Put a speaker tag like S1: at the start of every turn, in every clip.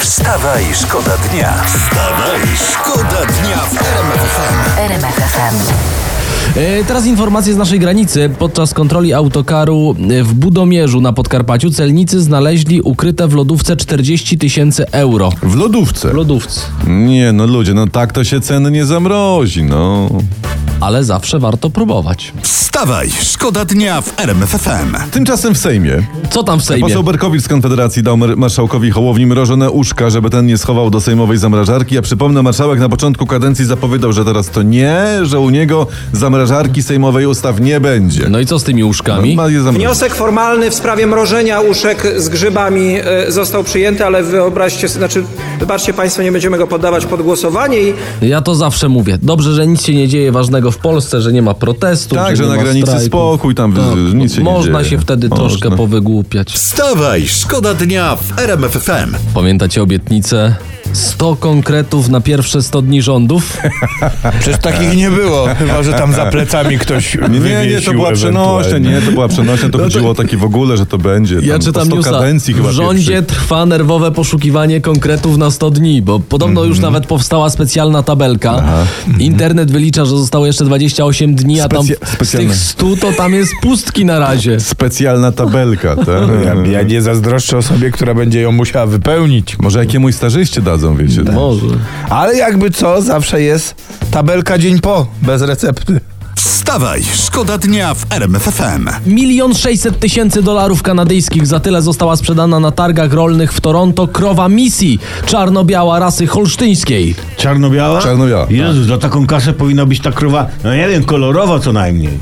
S1: Wstawaj, szkoda dnia. Wstawaj, szkoda dnia w RMFFM.
S2: RMF FM.
S3: E, Teraz informacje z naszej granicy. Podczas kontroli autokaru e, w Budomierzu na Podkarpaciu celnicy znaleźli ukryte w lodówce 40 tysięcy euro.
S4: W lodówce.
S3: W lodówce.
S4: Nie, no ludzie, no tak to się ceny nie zamrozi, no.
S3: Ale zawsze warto próbować.
S1: Wstawaj, szkoda dnia w RMFFM.
S4: Tymczasem w Sejmie
S3: Co tam w Sejmie?
S4: poseł Berkowicz z Konfederacji dał mar- marszałkowi Hołowni mrożone uszka, żeby ten nie schował do sejmowej zamrażarki. Ja przypomnę, marszałek na początku kadencji zapowiadał, że teraz to nie, że u niego zamrażarki sejmowej ustaw nie będzie.
S3: No i co z tymi łóżkami?
S4: Ma je zamrozić.
S5: Wniosek formalny w sprawie mrożenia uszek z grzybami e, został przyjęty, ale wyobraźcie, znaczy, wybaczcie Państwo, nie będziemy go poddawać pod głosowanie i
S3: Ja to zawsze mówię. Dobrze, że nic się nie dzieje ważnego w Polsce, że nie ma protestów.
S4: Tak, że
S3: nie
S4: na
S3: ma
S4: granicy
S3: strajków.
S4: spokój, tam
S3: Tak,
S4: y, nic się nie
S3: Można
S4: dzieje.
S3: się wtedy
S4: Można.
S3: troszkę powygłupiać.
S1: Wstawaj, szkoda dnia w RMFFM.
S3: Pamiętacie obietnicę? 100 konkretów na pierwsze 100 dni rządów?
S6: Przecież takich nie było, chyba że tam za plecami ktoś
S4: Nie, nie, nie, to była przenośnia, nie, to była przenośnia, to chodziło o taki w ogóle, że to będzie.
S3: No Ja
S4: tam
S3: czytam
S4: po 100
S3: newsa.
S4: kadencji chyba
S3: W rządzie
S4: pierwszych.
S3: trwa nerwowe poszukiwanie konkretów na 100 dni, bo podobno już
S4: Mhm.
S3: nawet powstała specjalna tabelka. Internet wylicza, że zostało jeszcze 28 dni, a tam
S4: Specja-
S3: z
S4: specjalne.
S3: tych 100 to tam jest pustki na razie.
S4: Specjalna tabelka, tak?
S6: Ja, ja nie zazdroszczę osobie, która będzie ją musiała wypełnić.
S4: Może jakiemuś stażyście dadzą, wiecie. no.
S3: Może.
S6: Ale jakby co, zawsze jest tabelka dzień po, bez recepty.
S1: Wstawaj, szkoda dnia w RMFFM.
S3: Milion 600 tysięcy dolarów kanadyjskich za tyle została sprzedana na targach rolnych w Toronto krowa Missy, czarno-biała rasy holsztyńskiej.
S7: Czarno-biała?
S4: Czarno-biała.
S7: Jezu, za taką kasę powinna być ta krowa, no nie wiem, kolorowa co najmniej.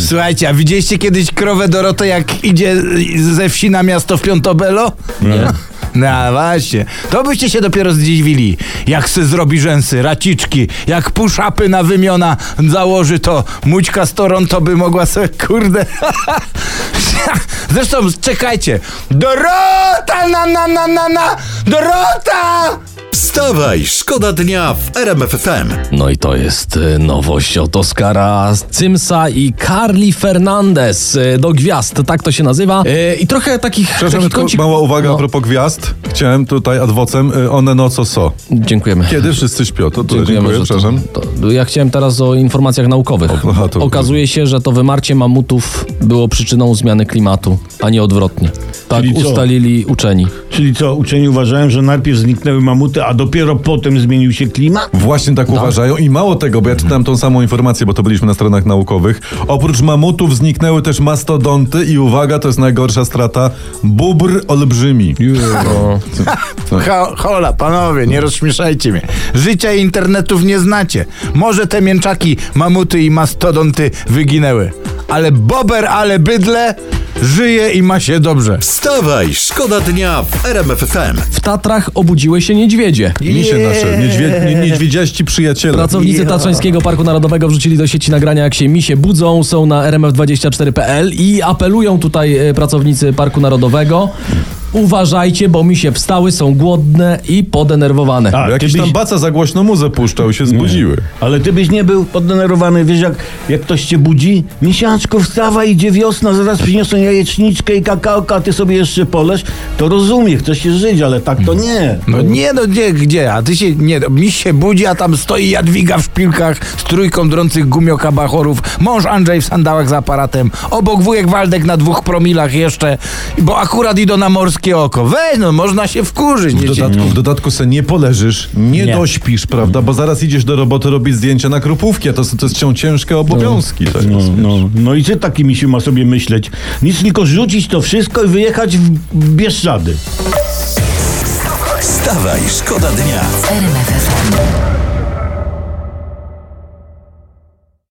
S6: Słuchajcie, a widzieliście kiedyś krowę Dorotę, jak idzie ze wsi na miasto w Piątobelo?
S3: Nie.
S6: No właśnie, to byście się dopiero zdziwili, jak se zrobi rzęsy, raciczki, jak puszapy na wymiona założy to, mućka z Toronto by mogła sobie, kurde, zresztą czekajcie, Dorota, na, na, na, na, na, Dorota!
S1: Wstawaj, szkoda dnia w RMFFM.
S3: No i to jest e, nowość od Oscara Cymsa i Carly Fernandez e, do gwiazd, tak to się nazywa. E, I trochę takich...
S4: Przepraszam,
S3: taki
S4: tylko
S3: kącik-
S4: mała uwaga
S3: No,
S4: a propos gwiazd. Chciałem tutaj adwocem y, one noco so.
S3: dziękujemy.
S4: Kiedy wszyscy śpią, to tyle,
S3: Dziękujemy,
S4: dziękuję,
S3: że to,
S4: przepraszam.
S3: to, Ja chciałem teraz o informacjach naukowych.
S4: O, aha, to-
S3: Okazuje się, że to wymarcie mamutów było przyczyną zmiany klimatu, a nie odwrotnie. Tak
S7: Czyli co?
S3: ustalili uczeni.
S7: Czyli co, uczeni uważają, że najpierw zniknęły mamuty, a dopiero potem zmienił się klimat?
S4: Właśnie tak uważają i mało tego, bo ja czytałem tą samą informację, bo to byliśmy na stronach naukowych. Oprócz mamutów zniknęły też mastodonty i uwaga, to jest najgorsza strata, bóbr olbrzymi.
S6: Ho, hola, panowie, nie rozśmieszajcie mnie. Życia i internetów nie znacie. Może te mięczaki, mamuty i mastodonty wyginęły. Ale bober, ale bydle żyje i ma się dobrze.
S1: Wstawaj, szkoda dnia w RMFFM.
S3: W Tatrach obudziły się niedźwiedzie.
S4: Misie nasze, niedźwie, nie- niedźwiedziaści przyjaciele.
S3: Pracownicy Tatrzańskiego Parku Narodowego wrzucili do sieci nagrania, jak się misie budzą, są na rmf24.pl i apelują tutaj e, pracownicy Parku Narodowego. Uważajcie, bo misie wstały, są głodne i podenerwowane.
S7: A, ty
S4: Jakiś
S7: byś,
S4: tam baca za głośno mu zapuszczał, się zbudziły.
S7: ale ty byś nie był poddenerwowany, wiesz jak, jak ktoś cię budzi? Misiaczko, wstawaj, idzie wiosna, zaraz przyniosą jajeczniczkę i kakaoka, a ty sobie jeszcze polesz. To rozumie, chcesz się żyć, ale tak to nie.
S6: No nie, no gdzie, gdzie? A ty się, nie, no, miś się budzi, a tam stoi Jadwiga w szpilkach z trójką drących gumioka bachorów, mąż Andrzej w sandałach z aparatem, obok wujek Waldek na dwóch promilach jeszcze, bo akurat idą na morskie oko. Weź, no, można się wkurzyć.
S4: W
S6: dzieci.
S4: dodatku, w dodatku se nie poleżysz, nie,
S7: Nie.
S4: dośpisz, prawda? Bo zaraz idziesz do roboty robić zdjęcia na krupówki, a to, są- to są ciężkie obowiązki. To
S7: No,
S4: jest.
S7: no, no i ty takimi się ma sobie myśleć. Nic tylko rzucić to wszystko i wyjechać w w Bieszczady.
S1: Wstawaj, szkoda dnia.
S2: RMF FM.